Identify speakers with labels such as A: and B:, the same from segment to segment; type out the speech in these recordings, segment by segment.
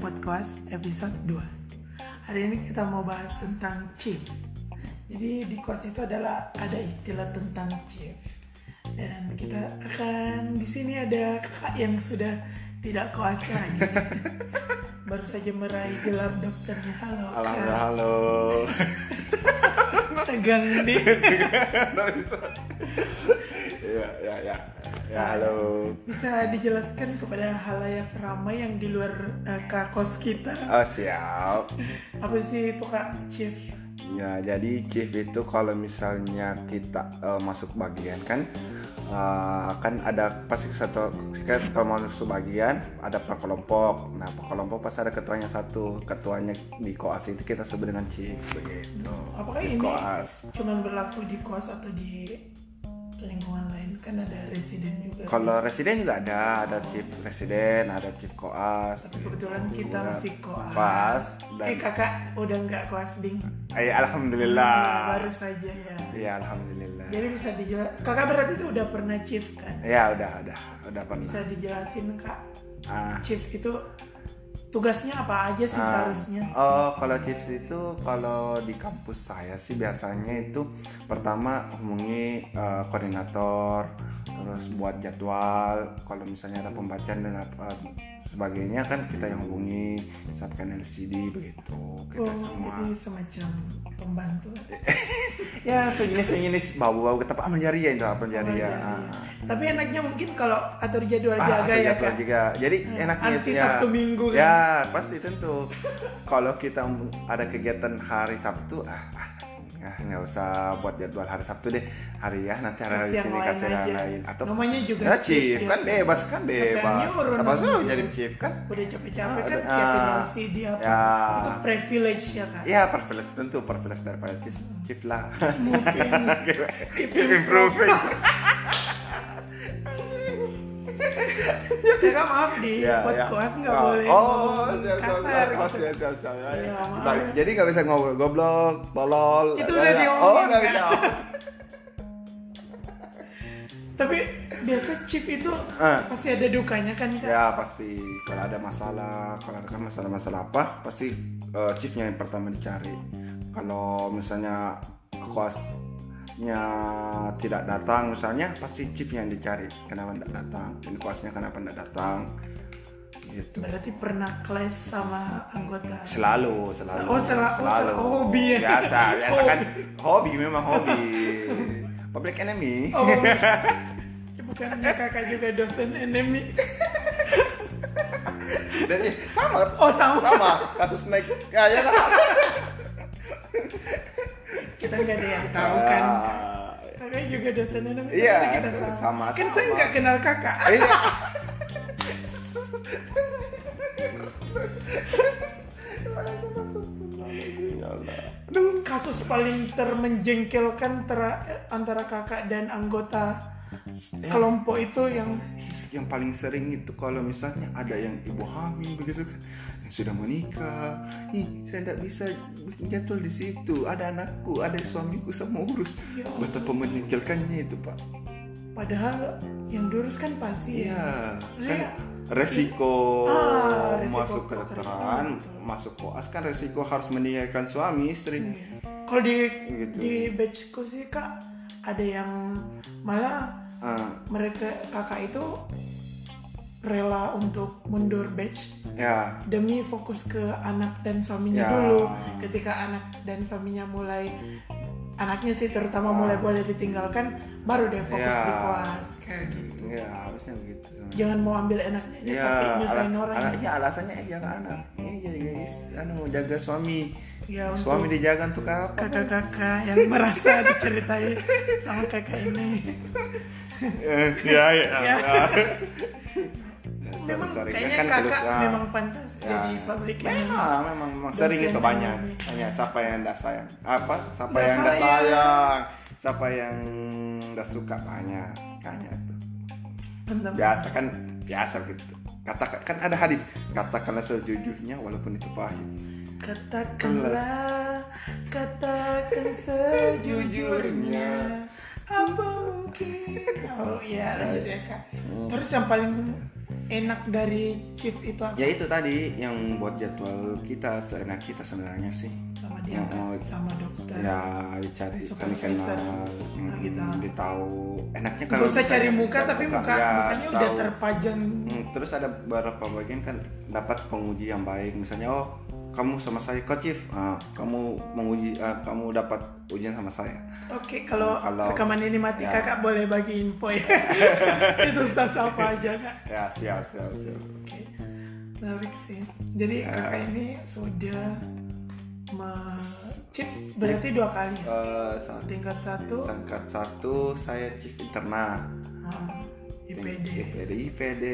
A: Podcast episode 2 Hari ini kita mau bahas tentang chief Jadi di kos itu adalah ada istilah tentang chief Dan kita akan di sini ada kakak yang sudah tidak koas lagi Baru saja meraih gelar dokternya Halo
B: Alhamdulillah,
A: kak
B: halo.
A: Tegang deh
B: ya, ya, ya. Ya, halo.
A: Bisa dijelaskan kepada halayak ramai yang di luar eh, kak kos kita
B: Oh, siap.
A: Apa sih itu kak chief?
B: Ya, jadi chief itu kalau misalnya kita eh, masuk bagian kan eh, kan ada pasti satu kan kalau mau masuk bagian ada per kelompok. Nah, per kelompok pasti ada ketuanya satu. Ketuanya di koas itu kita sebut dengan chief begitu.
A: Apakah
B: Chief
A: ini-
B: koas?
A: cuman berlaku di kos atau di lingkungan lain kan ada residen juga
B: Kalau residen juga ada, ada chief residen, ada chief koas.
A: tapi kebetulan kita
B: Kebetulan
A: masih koas
B: koas dan-
A: eh kakak udah nggak koas bing
B: Ay, alhamdulillah.
A: baru saja ya
B: Iya, alhamdulillah.
A: jadi bisa dijelas kakak berarti sudah pernah chief kan
B: Ya udah udah udah pernah.
A: bisa dijelasin kak
B: Ah.
A: chief itu tugasnya apa aja sih
B: Ah.
A: seharusnya
B: Oh kalau chips itu kalau di kampus saya sih biasanya itu pertama hubungi eh, koordinator terus buat jadwal kalau misalnya ada pembacaan dan apa sebagainya kan kita yang hubungi siapkan LCD begitu kita
A: oh
B: semua
A: jadi semacam pembantu
B: ya sejenis sejenis bau bau kita apa jari ya itu apa
A: Oh,
B: jari ya
A: tapi enaknya mungkin kalau atur jadwal jaga
B: Ah, atau
A: ya
B: jadwal
A: kak
B: juga. Jadi
A: Hmm.
B: enaknya
A: Anti
B: itu ya.
A: Sabtu Minggu kan?
B: Ya, pasti tentu. Kalau kita ada kegiatan hari Sabtu, ah, ah, ah, nggak usah buat jadwal hari Sabtu deh. Hari ya nanti hari,
A: Kasih yang
B: sini
A: lain
B: kasih yang
A: aja.
B: lain atau
A: namanya juga
B: Nah, chief
A: ya.
B: kan bebas kan
A: Siapa yang
B: bebas.
A: nyuruh
B: Siapa suruh
A: namanya?
B: jadi chief kan?
A: udah capek-capek
B: Ah,
A: kan
B: udah,
A: siapin
B: ah.
A: LCD apa
B: Ya.
A: itu privilege ya kak
B: Ya, perfilus tentu perfilus daripada chief, chief lah.
A: moving
B: Keep improving.
A: kakak maaf di
B: Ya,
A: buat
B: ya.
A: koas nggak
B: Oh,
A: boleh
B: Oh,
A: ngomong
B: siap, siap,
A: kasar
B: siap. Oh,
A: gitu.
B: siap, siap, siap. Ya,
A: Ya,
B: ya.
A: maaf
B: Nah,
A: ya.
B: jadi nggak bisa ngobrol goblok, tolol.
A: Itu
B: eh,
A: udah
B: eh,
A: diomongin,
B: Oh, nggak
A: kan?
B: bisa.
A: tapi biasa chief itu
B: Ah.
A: pasti ada dukanya kan kak
B: Ya pasti kalau ada masalah, kalau ada kan masalah-masalah apa, pasti eh, chiefnya yang pertama dicari. Kalau misalnya koasnya tidak datang misalnya, pasti chief yang dicari. Kenapa tidak datang? Ini koasnya kenapa tidak datang? Gitu.
A: berarti pernah clash sama anggota
B: Selalu, selalu.
A: Oh, sela- oh, sela- hobi ya.
B: Biasa, biasa
A: Hobi.
B: kan hobi memang hobi. Public enemy.
A: oh Ya, bukannya kakak juga dosen enemy
B: Jadi, sama
A: oh sama
B: sama kasus naik ya ya kan.
A: kita nggak ada yang tahu kan
B: Ya.
A: kakak juga dosen enemy
B: Iya,
A: tapi kita sama
B: sama-sama.
A: kan saya nggak kenal kakak
B: Iya. Ya,
A: kasus paling termenjengkelkan tera- antara kakak dan anggota
B: Ya.
A: kelompok itu yang
B: yang paling sering itu kalau misalnya ada yang ibu hamil begitu kan yang sudah menikah ih saya tidak bisa bikin jadwal di situ ada anakku ada suamiku saya mau urus
A: Ya Allah.
B: betapa menyingkirkannya itu pak
A: padahal yang diurus kan pasti ya.
B: iya kan
A: Iya.
B: resiko,
A: Ah, resiko
B: masuk
A: kedokteran,
B: kedokteran
A: betul.
B: masuk koas kan resiko harus meninggalkan suami istri
A: Iya. Kalau di
B: Iya. Gitu.
A: di batchku sih kak ada yang malah
B: Ah,
A: mereka kakak itu rela untuk mundur batch
B: ya
A: demi fokus ke anak dan suaminya
B: Ya.
A: dulu. Ketika anak dan suaminya mulai anaknya sih terutama mulai boleh ditinggalkan baru deh fokus
B: Ah. Ya.
A: di koas kayak gitu.
B: ya harusnya begitu sebenarnya.
A: jangan mau ambil enaknya aja
B: Ya,
A: tapi nyusahin
B: ala-
A: orang
B: ala- ya, alasannya eh jaga anak. Eh jaga is- anu jaga suami.
A: ya untuk
B: suami dijaga untuk apa? Bos?
A: kakak-kakak yang merasa diceritain sama kakak ini
B: Eh, ya ya.
A: Ya.
B: ya.
A: memang
B: Sorry, sorry.
A: kayaknya
B: Kan
A: kakak
B: tulis, ah.
A: memang pantas
B: Ya.
A: jadi public enemy
B: Memang, memang, memang. sering
A: Dosen
B: itu banyak.
A: enemy.
B: Hanya siapa yang tidak sayang? Apa? Siapa
A: Nggak
B: yang tidak
A: sayang.
B: sayang? Siapa yang tidak suka banyak? Kayaknya itu.
A: Bentar.
B: Biasa kan, biasa gitu. Kata kan ada hadis, katakanlah sejujurnya walaupun itu pahit.
A: katakanlah katakanlah dan sejujurnya apa mungkin oh iya lanjut ya kak
B: Hmm.
A: terus yang paling enak dari chief itu apa
B: ya itu tadi yang buat jadwal kita seenak kita sebenarnya sih
A: sama dia
B: Oh,
A: kak sama dokter
B: ya dicari
A: Besok
B: kami
A: kan Easter.
B: kenal
A: Nah, kita.
B: ditahu enaknya
A: nggak
B: kalau
A: usah
B: misalnya
A: cari muka
B: kita
A: tapi muka
B: ya,
A: mukanya udah
B: tahu.
A: terpajang
B: Hmm, terus ada beberapa bagian kan dapat penguji yang baik misalnya oh kamu sama saya kocif ah, kamu menguji ah, kamu dapat ujian sama saya
A: oke kalau
B: Kalau-
A: rekaman ini mati
B: ya.
A: kakak boleh bagi info ya itu stas apa aja kak
B: ya siap siap siap
A: Oke, menarik sih. Jadi
B: Ya.
A: kakak ini sudah me-chip berarti dua kali ya?
B: Eh, saat
A: Tingkat satu
B: Sangkat satu saya chief interna
A: ah, IPD,
B: IPD IPD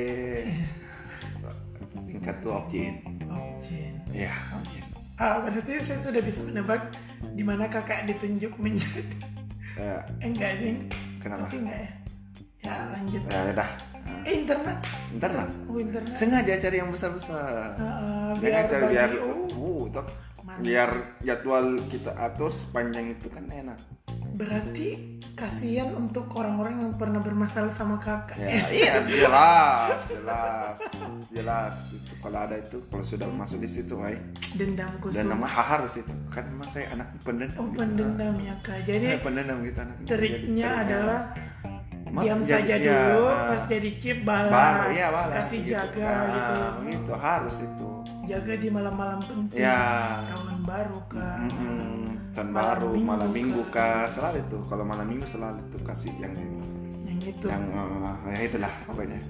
B: tingkat dua objin
A: Opjin.
B: ya
A: oh, Ah, berarti saya sudah bisa menebak di mana kakak ditunjuk menjadi
B: ya
A: eh, enggak ini
B: kenapa
A: pasti enggak ya? Ya lanjut.
B: ya udah Ah,
A: Eh internet,
B: interna
A: oh internet.
B: sengaja cari yang besar besar
A: Ah, ah,
B: biar
A: biar
B: cari
A: bagi-
B: biar
A: oh,
B: uh, toh.
A: mantap.
B: biar jadwal kita atur sepanjang itu kan enak
A: Berarti kasihan untuk orang-orang yang pernah bermasalah sama kakak.
B: ya iya jelas jelas jelas itu kalau ada itu kalau sudah masuk di situ ay
A: Dendam kusuma.
B: dan nama harus itu kan memang saya anak pendendam
A: Oh
B: gitu.
A: pendendam ya kak. Jadi
B: saya pendendam gitu anak
A: triknya
B: Jadi,
A: adalah
B: Mas,
A: diam
B: jadi-
A: saja
B: iya,
A: dulu,
B: ah.
A: pas jadi chip balas,
B: Bala, iya, bala,
A: kasih
B: gitu.
A: jaga
B: Ah,
A: gitu,
B: gitu, harus itu
A: jaga di malam-malam penting,
B: ya
A: tahun baru kak.
B: mm-mm. tahun
A: Malam
B: baru
A: minggu, kan.
B: malam minggu
A: Kak.
B: kak selalu itu kalau malam minggu selalu itu kasih yang
A: Yang itu.
B: yang eh, ya itulah pokoknya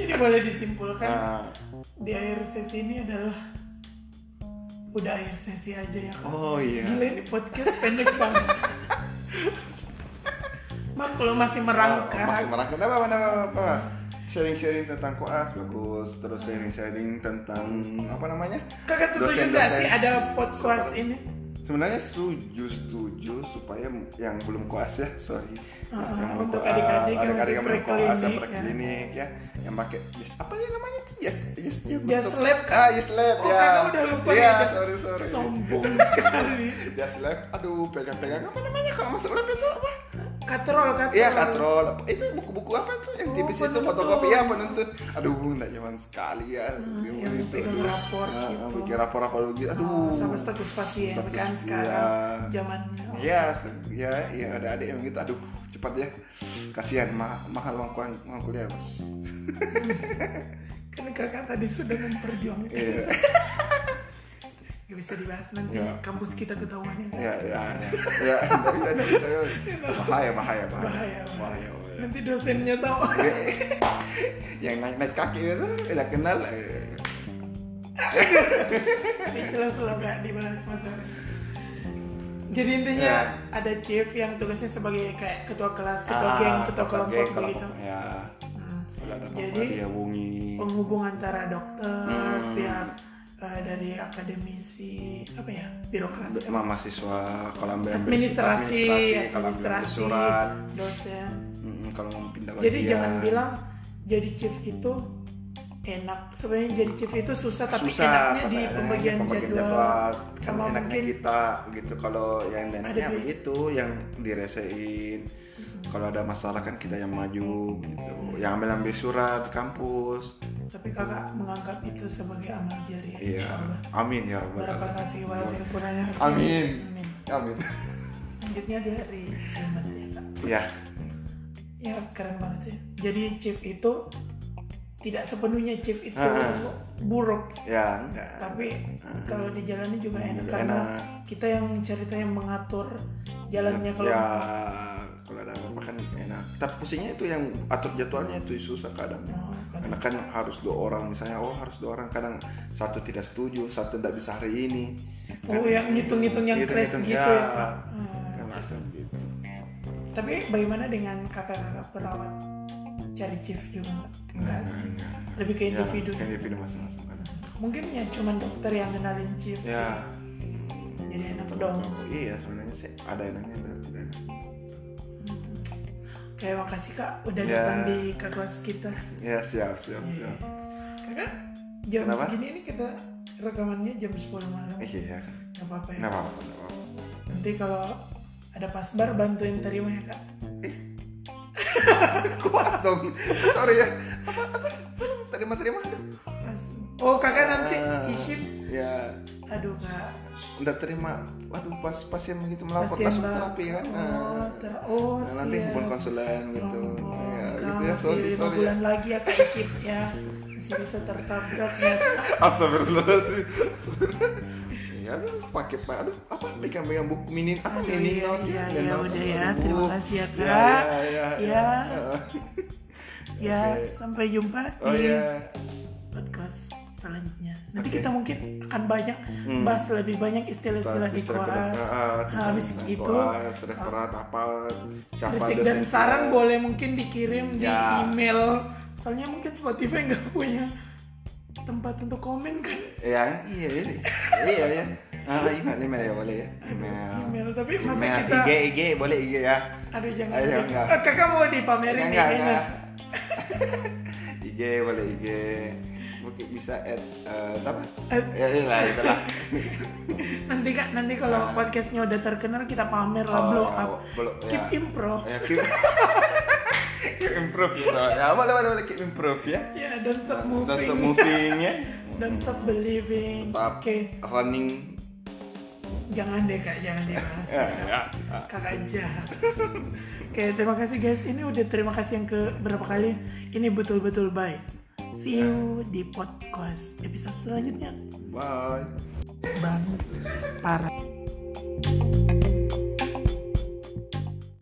A: Jadi boleh disimpulkan
B: Ah.
A: di akhir sesi ini adalah udah akhir sesi aja ya kak.
B: oh iya
A: Gila ini podcast pendek banget. Mak kalau masih merangkak,
B: Masih merangkak. Apa, apa, apa, apa. Sharing-sharing tentang koas bagus. Terus sharing-sharing tentang apa namanya?
A: kakak setuju
B: Dosen-dosen.
A: nggak sih ada podcast ini?
B: Sebenarnya setuju setuju supaya yang belum koas ya, sorry.
A: Ah,
B: yang belum
A: untuk
B: koas,
A: adik-adik yang
B: adik-adik yang
A: masih
B: belum koas yang
A: preklinik, ya.
B: preklinik ya. Yang pakai yes, apa ya namanya? itu? Yes, yes, yes.
A: Just
B: betul.
A: lab, Kak.
B: Ah, yes lab
A: Oh
B: ya.
A: kakak udah lupa
B: Iya,
A: ya,
B: sorry sorry.
A: sombong sekali.
B: Just lab. Aduh, pegang-pegang apa namanya kalau masuk lab itu apa?
A: Katrol, katrol.
B: Iya katrol Apa- itu buku-buku apa tuh yang
A: Oh,
B: tipis itu
A: penuntut.
B: fotokopi ya penuntut aduh nggak zaman sekali ya
A: Hmm,
B: Bingung
A: yang
B: itu,
A: pegang
B: aduh.
A: rapor
B: Ah,
A: gitu.
B: ah, bikin rapor apologi aduh
A: Oh, sama status pasien
B: Status,
A: kan
B: iya.
A: sekarang zamannya. Oh,
B: Iya, st- iya, iya ada adik yang gitu. Aduh, cepat ya. Kasihan ma- mahal uang kuan- uang kuliah, Bos.
A: Kan kakak tadi sudah memperjuangkan.
B: Iya.
A: Gak bisa dibahas nanti
B: Iya.
A: kampus kita ketahuan ya.
B: Iya, iya. Iya, tapi ada bisa. ya. Bahaya,
A: Bahaya,
B: bahaya, bahaya.
A: bahaya.
B: Bahaya. bahaya.
A: Nanti dosennya tahu.
B: yang naik naik kaki itu udah kenal eh.
A: Tapi jelas lo gak dibahas masalah. Jadi intinya
B: Iya.
A: ada chief yang tugasnya sebagai kayak ketua kelas, ketua
B: Ah,
A: geng, ketua
B: geng,
A: kelompok gitu. begitu.
B: ya
A: Hmm.
B: udah ada
A: Jadi, um,
B: Jadi, dia wungi
A: penghubung antara dokter,
B: Hmm.
A: pihak eh, dari akademisi, apa ya, birokrasi,
B: sama mahasiswa kalau ambil
A: administrasi,
B: kalau ambil ambil
A: administrasi,
B: surat
A: dosen.
B: mm, kalau mau pindah
A: Jadi
B: bagian.
A: jangan bilang jadi chief itu enak. Sebenarnya jadi chief itu susah, tapi
B: Susah,
A: enaknya di
B: enaknya
A: pembagian, jadwal. Sama
B: Sama enaknya
A: mungkin-
B: kita gitu kalau yang enaknya
A: duit.
B: begitu yang diresein kalau ada masalah kan kita yang maju gitu yang ambil ambil surat di kampus
A: Tapi kakak menganggap itu sebagai amal jariah.
B: iya
A: Insya Allah.
B: amin ya rabbal alamin
A: Ya, Barakallah fi walafil Qur'anil hakim.
B: Amin.
A: Amin.
B: amin
A: Lanjutnya di hari Jumat ya, Kak.
B: ya
A: Ya keren banget ya. Jadi chief itu tidak sepenuhnya chief itu
B: Ah.
A: buruk,
B: ya enggak
A: tapi
B: Ah.
A: kalau dijalani juga enak
B: Juga
A: karena
B: enak.
A: kita yang ceritanya mengatur jalannya kalau
B: ya kalau ada apa-apa kan enak tapi pusingnya itu yang atur jadwalnya itu susah kadang
A: Oh, karena-
B: karena kan harus dua orang misalnya oh harus dua orang kadang satu tidak setuju satu tidak bisa hari ini
A: Oh,
B: Kan-
A: yang ngitung-ngitung yang crash gitu
B: Ngitung-ngitung,
A: ya, Kak. Hmm.
B: kan langsung gitu
A: Tapi bagaimana dengan kakak-kakak perawat cari chief juga nggak? Enggak sih.
B: Enggak.
A: Lebih ke
B: Ya,
A: individu.
B: ke individu masing-masing kan
A: Mungkin ya cuman dokter yang kenalin chief.
B: ya
A: Jadi enak dong.
B: iya sebenarnya sih ada enaknya ada tidak enak
A: Hmm. Oke, makasih Kak udah
B: Ya.
A: datang di ke kelas kita.
B: ya siap siap
A: Iya.
B: siap
A: Kakak jam
B: Kenapa?
A: segini ini kita rekamannya jam 10 malam.
B: Eh, Iya,
A: Gak apa-apa ya.
B: nggak apa-apa, nggak apa-apa.
A: Nanti kalau ada pasbar bantuin terima ya kak.
B: Kuas dong. Sorry ya. Apa apa? Terima-terima. aduh.
A: Pas. Oh kakak nanti
B: Ah,
A: isip.
B: Ya,
A: Aduh kak.
B: udah terima. Waduh, pas pasien begitu melapor
A: Pasien
B: langsung
A: bang.
B: terapi kan.
A: Oh,
B: Nah,
A: ter- oh
B: nah, nanti
A: siap.
B: hubungan konsulen gitu.
A: Sombong.
B: Ya,
A: Kak,
B: gitu ya.
A: masih
B: Sorry,
A: lima
B: sorry. ya.
A: bulan lagi ya kak isip ya. Masih bisa tertabrak ya. Kak.
B: Astagfirullahaladzim. Ya, pakai pak. Aduh, apa pegang-pegang buku minin apa
A: Aduh, iya,
B: minin note
A: iya,
B: dan
A: iya,
B: note.
A: udah ya.
B: Aduh.
A: Terima kasih ya,
B: Ya,
A: Kak.
B: Ya,
A: Ya.
B: ya.
A: Ya
B: Oke.
A: sampai jumpa
B: Oh
A: di
B: ya.
A: podcast selanjutnya. Nanti
B: Oke.
A: kita mungkin akan banyak
B: Hmm.
A: bahas lebih banyak istilah-istilah di koas. Nah, habis itu,
B: sudah kerat Ah, apa siapa
A: Kritik dan
B: dosen
A: saran
B: kita.
A: boleh mungkin dikirim di
B: Ya.
A: email. Soalnya mungkin Spotify nggak punya tempat untuk komen kan
B: Ya, iya, iya, iya, iya. Ah, email, email ya boleh ya. Email.
A: email. Tapi masa
B: Email,
A: kita,
B: IG, IG boleh IG ya.
A: aduh jangan.
B: Ayo,
A: deh.
B: enggak.
A: Eh, kakak mau dipamerin
B: Enggak,
A: nih
B: enggak,
A: kayaknya.
B: enggak. IG boleh IG. Mungkin bisa add eh, siapa?
A: Eh.
B: Ya, iya lah, itulah.
A: Nanti kak, nanti kalau
B: Nah.
A: podcastnya udah terkenal kita pamer lah
B: Oh,
A: blow
B: ya,
A: up.
B: blow- ya.
A: Keep improv.
B: Ya, keep, keep improve ya. Ya, boleh, boleh, boleh keep improve ya.
A: Ya, don't stop moving.
B: Don't stop moving ya.
A: Don't stop believing. Oke,
B: Tetap running.
A: jangan deh kak, jangan dibahas.
B: Ya, ya.
A: Kakak jahat. Oke, terima kasih guys. Ini udah terima kasih yang ke berapa kali. Ini betul-betul baik. See you di podcast episode selanjutnya.
B: Bye.
A: Banget parah.